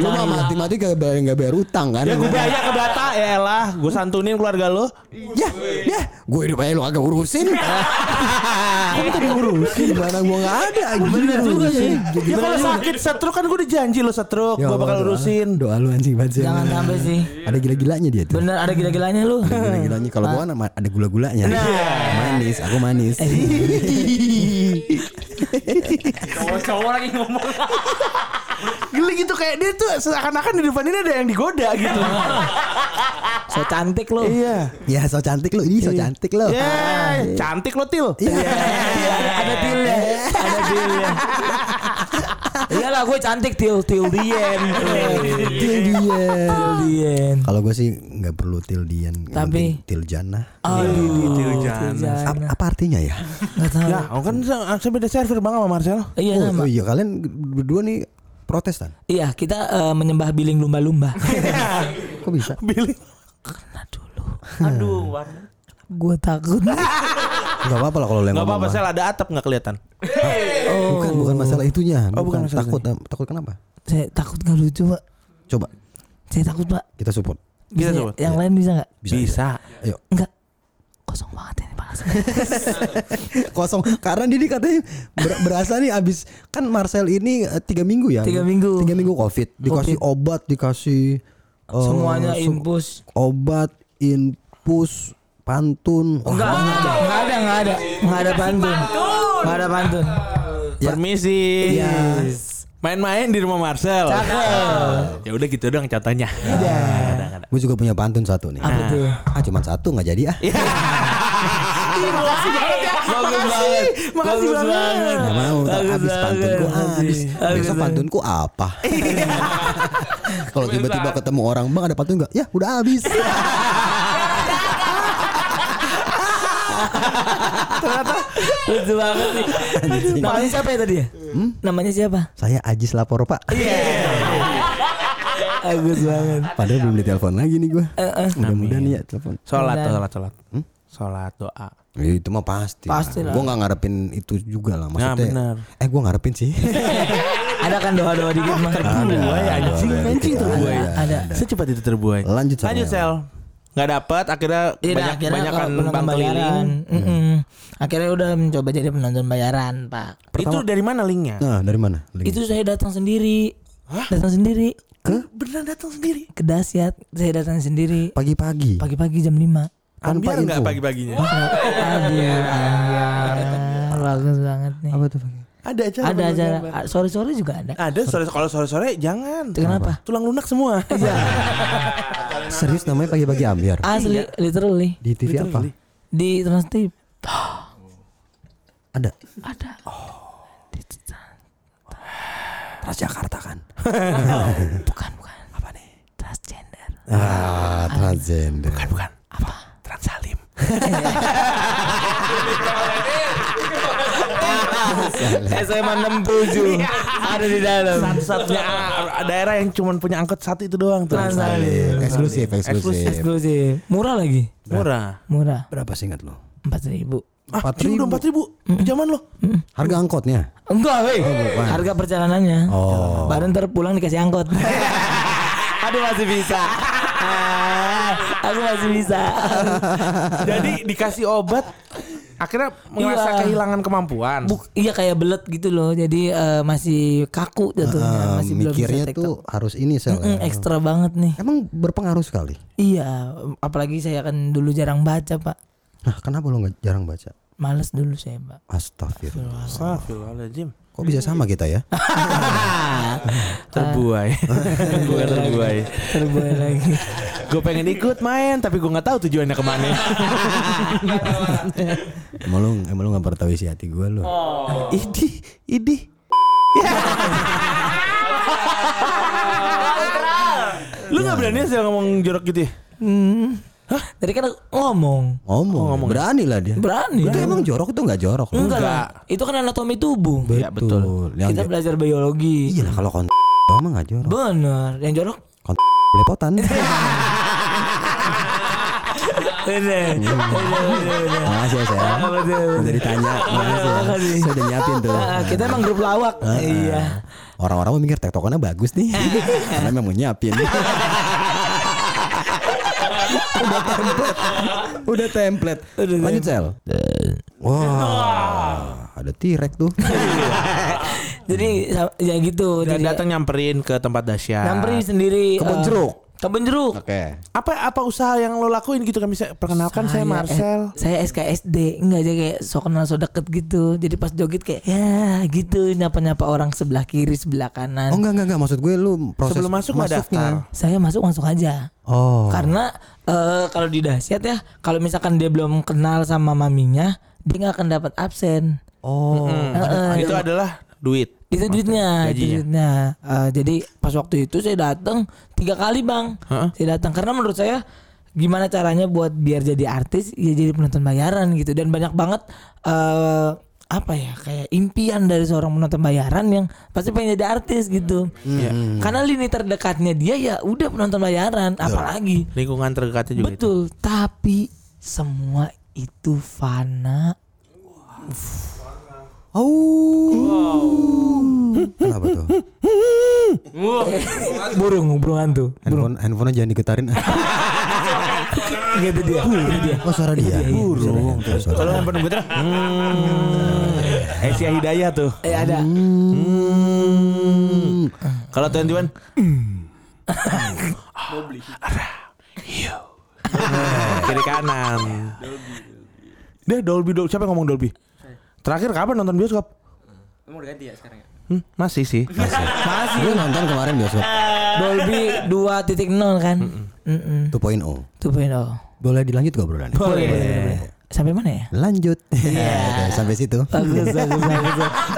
[SPEAKER 4] Lu mah mati-mati gak bayar, gak bayar utang kan
[SPEAKER 3] Ya gue biaya ke Bata ya elah, gue santunin keluarga lu.
[SPEAKER 4] Ya, ya, gue hidup aja lu agak urusin. Kamu tadi urusin, gimana gue gak ada. Gimana juga sih.
[SPEAKER 3] Ya kalau sakit setruk kan gue udah janji lo setruk, gue bakal urusin.
[SPEAKER 4] Doa lu anjing banget sih.
[SPEAKER 2] Jangan sampai sih.
[SPEAKER 4] Iya. Ada gila-gilanya dia tuh.
[SPEAKER 2] Bener ada gila-gilanya lu.
[SPEAKER 4] Ada Gila-gilanya kalau gua
[SPEAKER 3] Ah.
[SPEAKER 4] kan ada gula-gulanya. Manis, aku manis.
[SPEAKER 5] Cowok-cowok lagi ngomong.
[SPEAKER 3] Geli gitu kayak dia tuh seakan-akan di depan ini ada yang digoda gitu.
[SPEAKER 2] So Ah, cantik lu.
[SPEAKER 3] Iya.
[SPEAKER 4] ya, so cantik lu. Ih, so cantik lu. Iya.
[SPEAKER 3] Yeay, cantik lo Til.
[SPEAKER 2] Ada tilnya, ada ya. tilnya. Iyalah gue cantik til til dien.
[SPEAKER 4] Iya. Til Dian.
[SPEAKER 2] Til dien.
[SPEAKER 4] Kalau gue sih nggak perlu til Dian. yang
[SPEAKER 2] Tapi-
[SPEAKER 4] penting Til Jana.
[SPEAKER 3] Oh,
[SPEAKER 2] Aduh,
[SPEAKER 3] Til
[SPEAKER 4] Iya.
[SPEAKER 2] Til Jana.
[SPEAKER 3] iya.
[SPEAKER 4] Ap- apa artinya ya?
[SPEAKER 2] Nggak tahu.
[SPEAKER 3] Ya, oh kan sa- saya beda server bang sama Marcel.
[SPEAKER 2] Iya
[SPEAKER 4] Oh,
[SPEAKER 2] sama.
[SPEAKER 4] oh iya kalian berdua nih Protestan.
[SPEAKER 2] Iya kita eh, menyembah biling lumba-lumba.
[SPEAKER 3] Iya.
[SPEAKER 4] Kok bisa?
[SPEAKER 3] Billy.
[SPEAKER 2] Nah dulu,
[SPEAKER 5] Aduh, warna.
[SPEAKER 2] gue takut.
[SPEAKER 4] Gak apa-apa lah kalau lo yang
[SPEAKER 3] Gak apa-apa
[SPEAKER 4] ngomong.
[SPEAKER 3] Sel ada atap gak kelihatan.
[SPEAKER 4] Bukan bukan masalah itunya.
[SPEAKER 3] Oh, bukan masalah
[SPEAKER 4] takut takut kenapa?
[SPEAKER 2] Saya takut nggak lucu pak.
[SPEAKER 4] Coba
[SPEAKER 2] Saya takut pak.
[SPEAKER 4] kita support.
[SPEAKER 3] Bisa,
[SPEAKER 2] Bisa, Iya.
[SPEAKER 3] Sobat.
[SPEAKER 2] yang lain bisa nggak?
[SPEAKER 4] Bisa. Ayo.
[SPEAKER 2] Enggak. Kosong banget ini panas.
[SPEAKER 4] Kosong karena Didi katanya ber- berasa nih abis kan Marcel ini eh, tiga minggu ya.
[SPEAKER 2] Tiga minggu.
[SPEAKER 4] Tiga minggu covid. Dikasih obat, dikasih eh,
[SPEAKER 2] Semuanya
[SPEAKER 4] sem-
[SPEAKER 2] impus.
[SPEAKER 4] Obat, inpus, pantun. Wah,
[SPEAKER 2] Enggak, enggak ada, enggak ada, enggak ada, enggak ada pantun, enggak ada pantun.
[SPEAKER 4] Ya.
[SPEAKER 3] Permisi.
[SPEAKER 4] Iya.
[SPEAKER 3] Main-main di rumah Marcel.
[SPEAKER 2] Cakep.
[SPEAKER 3] Ya udah gitu doang contohnya. Iya.
[SPEAKER 4] Gue juga punya pantun satu nih.
[SPEAKER 2] Apa tuh? Iya.
[SPEAKER 4] Ah cuman satu nggak jadi ah.
[SPEAKER 3] Iya.
[SPEAKER 2] Bagus banget,
[SPEAKER 3] ya. Makasih
[SPEAKER 2] bagus
[SPEAKER 3] banget.
[SPEAKER 4] Nggak mau tak
[SPEAKER 2] Bagus
[SPEAKER 4] habis
[SPEAKER 2] banget.
[SPEAKER 4] pantunku habis.
[SPEAKER 2] Bagus
[SPEAKER 4] Besok
[SPEAKER 2] banget.
[SPEAKER 4] pantunku apa? Kalau tiba-tiba ketemu orang bang ada pantun nggak? Ya udah habis.
[SPEAKER 2] Lucu banget nih. Namanya siapa ya tadi ya? Namanya siapa?
[SPEAKER 4] Saya Ajis lapor pak.
[SPEAKER 2] Iya. Bagus banget.
[SPEAKER 4] Padahal belum ditelepon lagi nih gue.
[SPEAKER 2] Eh,
[SPEAKER 4] Mudah-mudahan ya telepon.
[SPEAKER 3] Sholat,
[SPEAKER 2] Mudah.
[SPEAKER 3] sholat, sholat. Sholat doa.
[SPEAKER 4] Ya, itu mah pasti.
[SPEAKER 2] Pasti lah.
[SPEAKER 4] Gue nggak ngarepin itu juga lah maksudnya.
[SPEAKER 3] Nah, benar.
[SPEAKER 4] Eh gue ngarepin sih.
[SPEAKER 2] Ada kan doa-doa dikit mah.
[SPEAKER 3] Terbuai Oh, iya, anjing,
[SPEAKER 4] Ada,
[SPEAKER 3] anjing
[SPEAKER 4] ada,
[SPEAKER 3] terbuai.
[SPEAKER 4] ada,
[SPEAKER 2] ada.
[SPEAKER 3] Secepat itu terbuai.
[SPEAKER 4] Lanjut, Sel.
[SPEAKER 3] Lanjut Sel. Nggak dapat akhirnya
[SPEAKER 2] Iya,
[SPEAKER 3] banyak
[SPEAKER 2] akhirnya
[SPEAKER 3] banyak kan
[SPEAKER 2] kalau penonton
[SPEAKER 3] bang
[SPEAKER 2] bayaran.
[SPEAKER 3] keliling.
[SPEAKER 2] Mm-mm. Akhirnya udah mencoba jadi penonton bayaran, Pak.
[SPEAKER 3] Itu dari mana linknya?
[SPEAKER 4] Nah dari mana? Link.
[SPEAKER 2] Itu saya datang sendiri. Datang sendiri ke
[SPEAKER 3] Beneran datang sendiri.
[SPEAKER 2] ke dasyat. Saya datang sendiri
[SPEAKER 4] pagi-pagi.
[SPEAKER 2] pagi-pagi jam 5.
[SPEAKER 4] Tanpa
[SPEAKER 3] Ambiar nggak
[SPEAKER 4] info.
[SPEAKER 3] pagi-paginya?
[SPEAKER 2] Aduh, anjir. Bagus banget nih.
[SPEAKER 4] Apa tuh? pagi?
[SPEAKER 3] Ada acara.
[SPEAKER 2] Ada
[SPEAKER 3] Bang.
[SPEAKER 2] acara ah, sore-sore juga ada.
[SPEAKER 3] Ada sore kalau sore-sore jangan.
[SPEAKER 2] Kenapa?
[SPEAKER 3] Tulang lunak semua.
[SPEAKER 4] Serius namanya pagi-pagi ambiar.
[SPEAKER 2] Asli literally
[SPEAKER 4] Di TV apa?
[SPEAKER 2] di Trans TV.
[SPEAKER 4] Ada. Oh.
[SPEAKER 2] Ada.
[SPEAKER 4] Transjakarta kan.
[SPEAKER 2] Bukan, bukan. Apa nih? Transgender.
[SPEAKER 4] Ah transgender.
[SPEAKER 3] Bukan. Apa? Transalim.
[SPEAKER 2] SMA 67 ada di dalam.
[SPEAKER 3] Satu-satunya ah, daerah yang cuma punya angkot satu itu doang tuh.
[SPEAKER 2] Transali.
[SPEAKER 4] Eh, Eksklusif, eksklusif.
[SPEAKER 2] Eksklusif. Murah lagi.
[SPEAKER 3] Murah.
[SPEAKER 2] Murah.
[SPEAKER 4] Berapa sih ingat lo?
[SPEAKER 2] 4000.
[SPEAKER 3] Ah, cuy, udah empat ribu. Zaman lo.
[SPEAKER 4] Harga angkotnya?
[SPEAKER 2] Enggak, weh. Harga perjalanannya.
[SPEAKER 4] Oh.
[SPEAKER 2] Baru ntar pulang dikasih angkot. Aduh masih bisa. Ah, Aku masih bisa.
[SPEAKER 3] Jadi dikasih obat akhirnya merasa
[SPEAKER 2] Iya.
[SPEAKER 3] kehilangan kemampuan.
[SPEAKER 2] Buk, iya kayak belet gitu loh. Jadi eh, masih kaku jatuhnya,
[SPEAKER 4] Eh,
[SPEAKER 2] masih belum bisa
[SPEAKER 4] mikirnya
[SPEAKER 2] take
[SPEAKER 4] tuh harus ini sel.
[SPEAKER 2] Mm, ekstra banget nih.
[SPEAKER 4] Emang berpengaruh sekali.
[SPEAKER 2] Iya, apalagi saya kan dulu jarang baca, Pak.
[SPEAKER 4] Nah, kenapa lo nggak jarang baca?
[SPEAKER 2] Males dulu saya, Pak.
[SPEAKER 4] Astagfirullah.
[SPEAKER 3] Astagfirullahaladzim.
[SPEAKER 4] Kok bisa sama kita ya?
[SPEAKER 3] Terbuai. Bukan terbuai.
[SPEAKER 2] Terbuai lagi.
[SPEAKER 3] Gue pengen ikut main tapi gue nggak tahu tujuannya kemana.
[SPEAKER 4] emang lo emang lo nggak pernah tahu isi hati gue lo.
[SPEAKER 3] Idi, idi. Lu nggak berani sih ngomong jorok gitu ya?
[SPEAKER 2] Hmm. Hah? Tadi kan aku ngomong.
[SPEAKER 4] Ngomong, berani lah dia.
[SPEAKER 2] Berani.
[SPEAKER 4] Itu
[SPEAKER 2] dong.
[SPEAKER 4] emang jorok itu nggak jorok. lo.
[SPEAKER 2] Enggak lah. Itu kan anatomi tubuh.
[SPEAKER 4] Betul. Yang
[SPEAKER 2] Kita belajar biologi.
[SPEAKER 4] iya lah kalau kon emang nggak jorok.
[SPEAKER 2] Bener. Yang jorok
[SPEAKER 4] Kon belepotan.
[SPEAKER 2] Udah. Udah, udah, udah.
[SPEAKER 4] Makasih ya saya.
[SPEAKER 2] Betul,
[SPEAKER 4] Udah
[SPEAKER 2] betul.
[SPEAKER 4] ditanya. Makasih ya.
[SPEAKER 2] Makasih.
[SPEAKER 4] Saya udah nyiapin tuh.
[SPEAKER 2] Ah, Kita emang grup lawak.
[SPEAKER 4] Ah,
[SPEAKER 2] Iya.
[SPEAKER 4] ah. Orang-orang mau mikir tektokannya bagus nih. Karena memang mau nyiapin. udah template. Udah template. Lanjut sel. Wah, ada tirek tuh.
[SPEAKER 2] Jadi sa- ya gitu.
[SPEAKER 3] Dan
[SPEAKER 2] Jadi,
[SPEAKER 3] datang nyamperin ke tempat Dasya.
[SPEAKER 2] nyamperin sendiri.
[SPEAKER 4] Kebun
[SPEAKER 2] eh,
[SPEAKER 4] jeruk.
[SPEAKER 2] Kebun jeruk.
[SPEAKER 4] Oke.
[SPEAKER 3] Apa apa usaha yang lo lakuin gitu kami perkenalkan saya Marcel.
[SPEAKER 2] eh, saya SKSD enggak aja kayak so kenal so deket gitu. Jadi pas joget kayak ya gitu nyapa-nyapa orang sebelah kiri sebelah kanan.
[SPEAKER 4] Oh enggak enggak enggak maksud gue lu proses
[SPEAKER 3] Sebelum masuk nggak daftar?
[SPEAKER 4] masuknya.
[SPEAKER 2] Saya masuk langsung aja.
[SPEAKER 4] Oh.
[SPEAKER 2] Karena eh, kalau di dahsyat ya, kalau misalkan dia belum kenal sama maminya, dia nggak akan dapat absen.
[SPEAKER 4] Oh.
[SPEAKER 2] Eh, eh,
[SPEAKER 3] itu adalah duit.
[SPEAKER 2] itu
[SPEAKER 3] gajinya.
[SPEAKER 2] duitnya, itu duitnya. Eh, jadi pas waktu itu saya datang tiga kali bang, saya datang karena menurut saya gimana caranya buat biar jadi artis ya jadi penonton bayaran gitu dan banyak banget eh apa ya kayak impian dari seorang penonton bayaran yang pasti pengen jadi artis gitu. Karena lini terdekatnya dia ya udah penonton bayaran, apalagi
[SPEAKER 3] Lingkungan terdekatnya juga Iya, itu.
[SPEAKER 2] Betul, tapi semua itu fana.
[SPEAKER 4] Kenapa tuh?
[SPEAKER 2] burung, burung hantu.
[SPEAKER 4] Handphone handphonenya jangan digetarin.
[SPEAKER 2] Gitu dia. Itu dia.
[SPEAKER 4] Oh suara dia. Burung. Tuh, suara.
[SPEAKER 3] Kalau handphone gue tuh. Hmm. Aisyah Hidayah tuh.
[SPEAKER 2] Eh ada.
[SPEAKER 4] Hmm.
[SPEAKER 3] Kalau Twenty One, Hmm. Hmm, kiri kanan. Dia Dolby Dolby. Siapa yang ngomong Dolby? Terakhir kapan nonton bioskop?
[SPEAKER 5] Mau ganti ya sekarang ya?
[SPEAKER 3] Hmm, masih sih.
[SPEAKER 4] Gue nonton kemarin bioskop
[SPEAKER 2] Dolby 2.0 kan? Heeh.
[SPEAKER 4] 2.0.
[SPEAKER 2] 2.0.
[SPEAKER 4] oh. Boleh dilanjut gak obrolan?
[SPEAKER 2] Boleh. Sampai mana ya?
[SPEAKER 4] Lanjut. Oke, Sampai situ.
[SPEAKER 2] Bagus, bagus, bagus.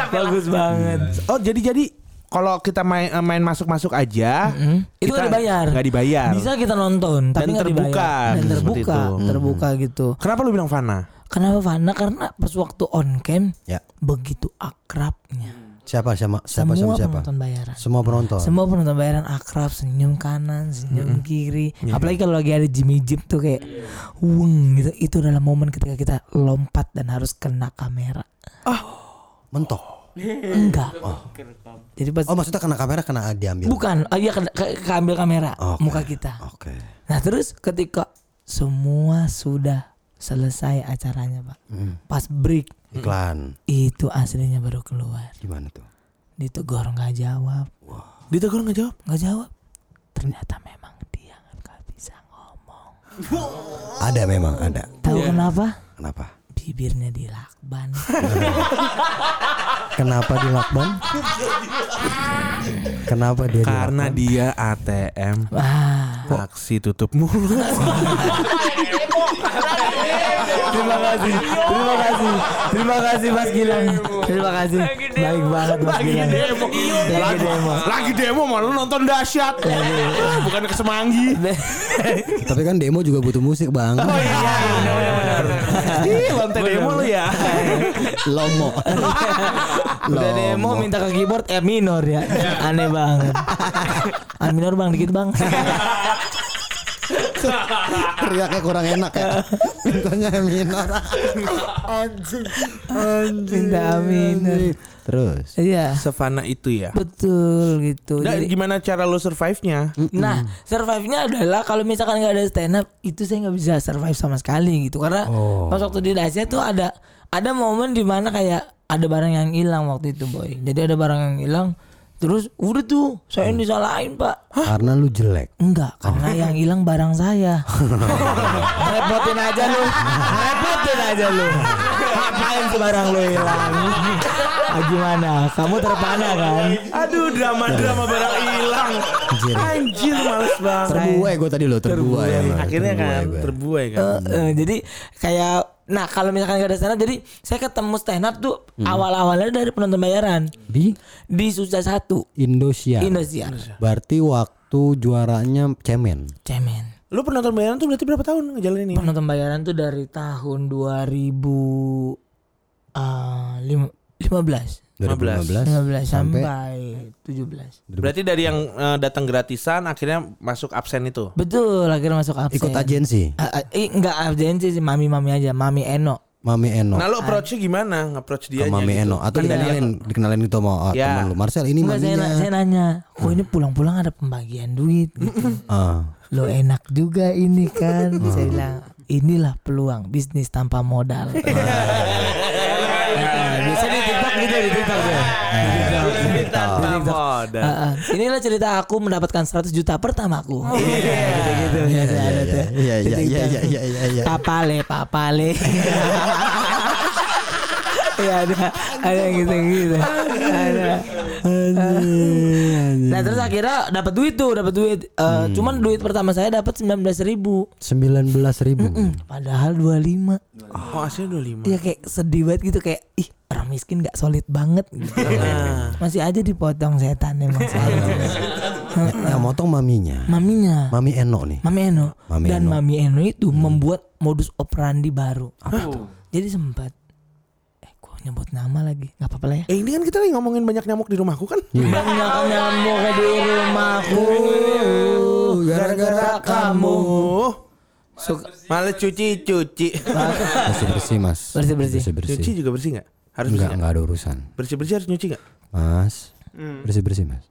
[SPEAKER 2] bagus banget.
[SPEAKER 3] Oh jadi jadi kalau kita main eh, main masuk masuk aja,
[SPEAKER 2] Itu
[SPEAKER 3] kita
[SPEAKER 2] nggak dibayar.
[SPEAKER 3] Nggak dibayar.
[SPEAKER 2] Bisa kita nonton, tapi
[SPEAKER 3] Dan
[SPEAKER 2] nggak dibayar.
[SPEAKER 3] terbuka.
[SPEAKER 2] Dan
[SPEAKER 3] Seperti
[SPEAKER 2] terbuka,
[SPEAKER 3] itu.
[SPEAKER 2] terbuka gitu.
[SPEAKER 3] Kenapa lu bilang Fana?
[SPEAKER 2] Kenapa Fana? Karena pas waktu on cam
[SPEAKER 4] Ya.
[SPEAKER 2] begitu akrabnya.
[SPEAKER 4] Siapa sama siapa sama
[SPEAKER 2] semua
[SPEAKER 4] siapa?
[SPEAKER 2] penonton bayaran.
[SPEAKER 4] Semua
[SPEAKER 3] Oh.
[SPEAKER 4] penonton.
[SPEAKER 2] Semua penonton bayaran akrab senyum kanan, senyum kiri.
[SPEAKER 3] Ya.
[SPEAKER 2] Apalagi kalau lagi ada Jimmy Jip tuh kayak weng gitu. Itu adalah momen ketika kita lompat dan harus kena kamera.
[SPEAKER 4] Mentok.
[SPEAKER 2] Enggak. Jadi pas
[SPEAKER 4] Oh, maksudnya kena kamera kena diambil.
[SPEAKER 2] bukan, oh iya ke, ke- keambil kamera
[SPEAKER 4] Oke.
[SPEAKER 2] muka kita.
[SPEAKER 4] Oke.
[SPEAKER 2] Nah, terus ketika semua sudah selesai acaranya, Pak.
[SPEAKER 4] Hmm.
[SPEAKER 2] Pas break
[SPEAKER 4] Iklan.
[SPEAKER 2] itu aslinya baru keluar.
[SPEAKER 4] Gimana tuh?
[SPEAKER 2] Ditegur nggak jawab.
[SPEAKER 3] Ditegur nggak jawab?
[SPEAKER 2] Nggak jawab. Ternyata memang dia nggak bisa ngomong.
[SPEAKER 4] Ada memang ada.
[SPEAKER 2] Tahu kenapa?
[SPEAKER 4] Kenapa?
[SPEAKER 2] bibirnya dilakban.
[SPEAKER 4] Kenapa di lakban? Kenapa dia di
[SPEAKER 3] Karena dia ATM.
[SPEAKER 2] Wah.
[SPEAKER 3] Taksi tutup mulut.
[SPEAKER 2] Terima kasih. Terima kasih. Terima kasih Mas Gilang. Terima kasih. Baik banget Mas Gilang. Lagi demo. Iya,
[SPEAKER 3] Lagi demo malu nonton dahsyat. Ah, Bukan ke Semanggi.
[SPEAKER 4] lakban? Tapi kan demo juga butuh musik, Bang.
[SPEAKER 2] Oh, iya.
[SPEAKER 3] Ih, lonte demo lu ya.
[SPEAKER 4] Lomo.
[SPEAKER 2] Udah demo minta ke keyboard F minor ya.
[SPEAKER 4] Iya.
[SPEAKER 2] Aneh banget. A minor Bang dikit Bang.
[SPEAKER 4] Teriaknya kurang enak ya. Mintanya minor. anjing. Anjing.
[SPEAKER 2] Minta A minor.
[SPEAKER 4] anjing. Terus.
[SPEAKER 2] Iya.
[SPEAKER 3] Sefana itu ya.
[SPEAKER 2] Betul gitu.
[SPEAKER 4] Nah,
[SPEAKER 3] Dan
[SPEAKER 2] Jadi-
[SPEAKER 3] gimana cara lu survive-nya?
[SPEAKER 2] Nah, survive-nya adalah kalau misalkan nggak ada stand up, itu saya nggak bisa survive sama sekali gitu. Karena pas waktu di Asia tuh ada ada momen dimana kayak ada barang yang hilang waktu itu boy. Jadi ada barang yang hilang, terus udah tuh saya yang disalahin pak.
[SPEAKER 4] Karena lu jelek.
[SPEAKER 2] Enggak, karena yang hilang barang saya. Repotin aja lu, repotin aja lu. Ngapain tuh barang lu hilang? Ah, gimana? Kamu terpana kan?
[SPEAKER 3] Aduh drama-drama barang hilang.
[SPEAKER 4] Anjir.
[SPEAKER 3] Anjir males banget.
[SPEAKER 4] Terbuai gue tadi lo terbuai. emang.
[SPEAKER 3] Akhirnya kan
[SPEAKER 4] Terbuai gua.
[SPEAKER 3] terbuai kan.
[SPEAKER 2] Eh, eh, jadi kayak nah kalau misalkan gak ada stand up jadi saya ketemu stand up tuh awal-awalnya dari penonton bayaran
[SPEAKER 4] di
[SPEAKER 2] di susah satu
[SPEAKER 4] Indonesia.
[SPEAKER 2] Indonesia
[SPEAKER 4] Berarti waktu juaranya cemen.
[SPEAKER 2] cemen
[SPEAKER 3] Lu penonton bayaran tuh berarti berapa tahun ngejalanin ini?
[SPEAKER 2] penonton bayaran tuh eh, dari tahun 2015 15
[SPEAKER 3] 15.
[SPEAKER 2] 15
[SPEAKER 4] Sampai-
[SPEAKER 2] sampai 17.
[SPEAKER 3] Berarti dari yang eh, datang gratisan akhirnya masuk absen itu.
[SPEAKER 4] Oh.
[SPEAKER 2] Betul, akhirnya masuk absen.
[SPEAKER 4] ikut agensi
[SPEAKER 2] Ah, ah, eh, enggak agensi sih, mami-mami aja, mami Eno.
[SPEAKER 4] Mami Eno
[SPEAKER 3] Nah, lo approach-nya gimana? Nge-approach dia
[SPEAKER 4] ke Mami Eno atau dikenalin dikenalin gitu sama oh,
[SPEAKER 3] Ya.
[SPEAKER 4] teman lu Marcel ini
[SPEAKER 2] Enggak saya, na-
[SPEAKER 4] maminya
[SPEAKER 2] saya nanya, kok ini pulang-pulang ada pembagian duit gitu.
[SPEAKER 4] Ah.
[SPEAKER 2] Lo enak juga ini kan. saya bilang, inilah peluang bisnis tanpa modal.
[SPEAKER 3] Eh,
[SPEAKER 2] Nah, Biasanya di TikTok gitu di TikTok
[SPEAKER 4] Eh,
[SPEAKER 2] tuh.
[SPEAKER 1] Eh.
[SPEAKER 3] modal.
[SPEAKER 2] Ah, ah. inilah cerita aku mendapatkan 100 juta pertamaku. Iya, gitu. gitu-gitu. Biasa ada
[SPEAKER 4] Oh,
[SPEAKER 2] tuh.
[SPEAKER 4] Iya iya iya
[SPEAKER 2] Gitu-gitu.
[SPEAKER 4] iya iya iya iya.
[SPEAKER 2] Papale, papale. Iya ada, ada yang gitu-gitu. Ada. Nah terus akhirnya dapat duit tuh, dapat duit. Eh, Cuman duit pertama saya dapat 19.000 ribu.
[SPEAKER 4] 19.000.
[SPEAKER 2] Padahal 25
[SPEAKER 3] Oh, aslinya 25.
[SPEAKER 2] Iya kayak sedih banget gitu kayak ih orang miskin gak solid banget gitu. Masih aja dipotong setan emang selalu.
[SPEAKER 4] Eh, Yang motong maminya.
[SPEAKER 2] Maminya
[SPEAKER 4] Mami Eno nih.
[SPEAKER 2] Mami Eno Hmm.
[SPEAKER 4] Mami
[SPEAKER 2] dan
[SPEAKER 4] Eno.
[SPEAKER 2] Mami Eno itu membuat modus operandi baru. Jadi sempat eh gua nyebut nama lagi. nggak apa-apa lah ya.
[SPEAKER 6] Eh ini kan kita lagi ngomongin banyak nyamuk di rumahku kan?
[SPEAKER 4] Iya.
[SPEAKER 2] Banyak nyamuk di rumahku gara-gara kamu. Suka
[SPEAKER 3] Malah cuci-cuci.
[SPEAKER 4] Nah, Bersih bersih mas.
[SPEAKER 2] Bersih-bersih.
[SPEAKER 4] Bersih
[SPEAKER 3] Cuci
[SPEAKER 4] bersih.
[SPEAKER 3] juga bersih nggak? Harus
[SPEAKER 4] Enggak
[SPEAKER 3] bersih nggak?
[SPEAKER 4] enggak ada urusan.
[SPEAKER 3] Bersih-bersih harus nyuci nggak?
[SPEAKER 4] Mas. Bersih bersih mas.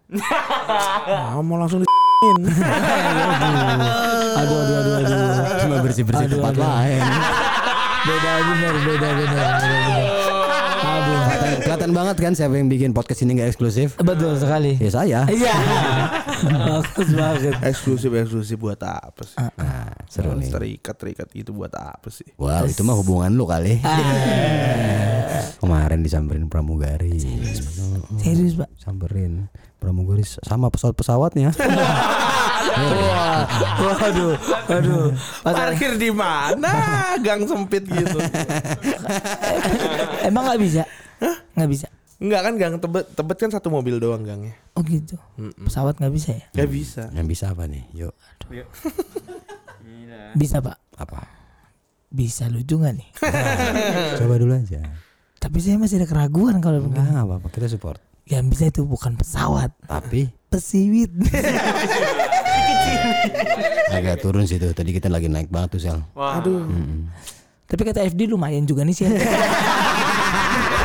[SPEAKER 6] Ah, mau langsung di
[SPEAKER 4] Aduh aduh aduh aduh. Cuma bersih bersih tempat lain.
[SPEAKER 2] beda bener beda bener. beda bener.
[SPEAKER 4] Aduh. kelihatan- Kelihatan banget kan siapa yang bikin podcast ini nggak eksklusif?
[SPEAKER 2] Betul sekali.
[SPEAKER 4] Ya saya.
[SPEAKER 2] Iya. Bagus banget.
[SPEAKER 3] Eksklusif eksklusif buat apa sih?
[SPEAKER 4] Nah, seru nih.
[SPEAKER 3] Terikat terikat gitu buat apa sih?
[SPEAKER 4] Wow, itu mah hubungan lu kali.
[SPEAKER 2] Ah,
[SPEAKER 4] Kemarin disamperin pramugari.
[SPEAKER 2] Serius, Pak.
[SPEAKER 4] Samperin pramugari s- sama pesawat pesawatnya.
[SPEAKER 2] Waduh, waduh. Pas-
[SPEAKER 3] Parkir di mana? Gang sempit gitu.
[SPEAKER 2] Emang nggak bisa? Nggak bisa.
[SPEAKER 3] Enggak kan gang tebet tebet kan satu mobil doang gangnya.
[SPEAKER 2] Oh gitu. Pesawat nggak bisa ya?
[SPEAKER 3] Gak bisa.
[SPEAKER 4] Yang bisa apa nih? Yuk,
[SPEAKER 2] Bisa Pak.
[SPEAKER 4] apa?
[SPEAKER 2] Bisa lucu nggak nih?
[SPEAKER 4] Coba dulu aja.
[SPEAKER 2] Tapi saya masih ada keraguan kalau begini.
[SPEAKER 4] Enggak apa-apa, kita support.
[SPEAKER 2] Yang bisa itu bukan pesawat,
[SPEAKER 4] Tapi
[SPEAKER 2] pesiwit.
[SPEAKER 4] agak turun sih tuh. Tadi kita lagi naik banget tuh, Sel.
[SPEAKER 7] Wah. Aduh.
[SPEAKER 2] Tapi kata FD lumayan juga nih sih.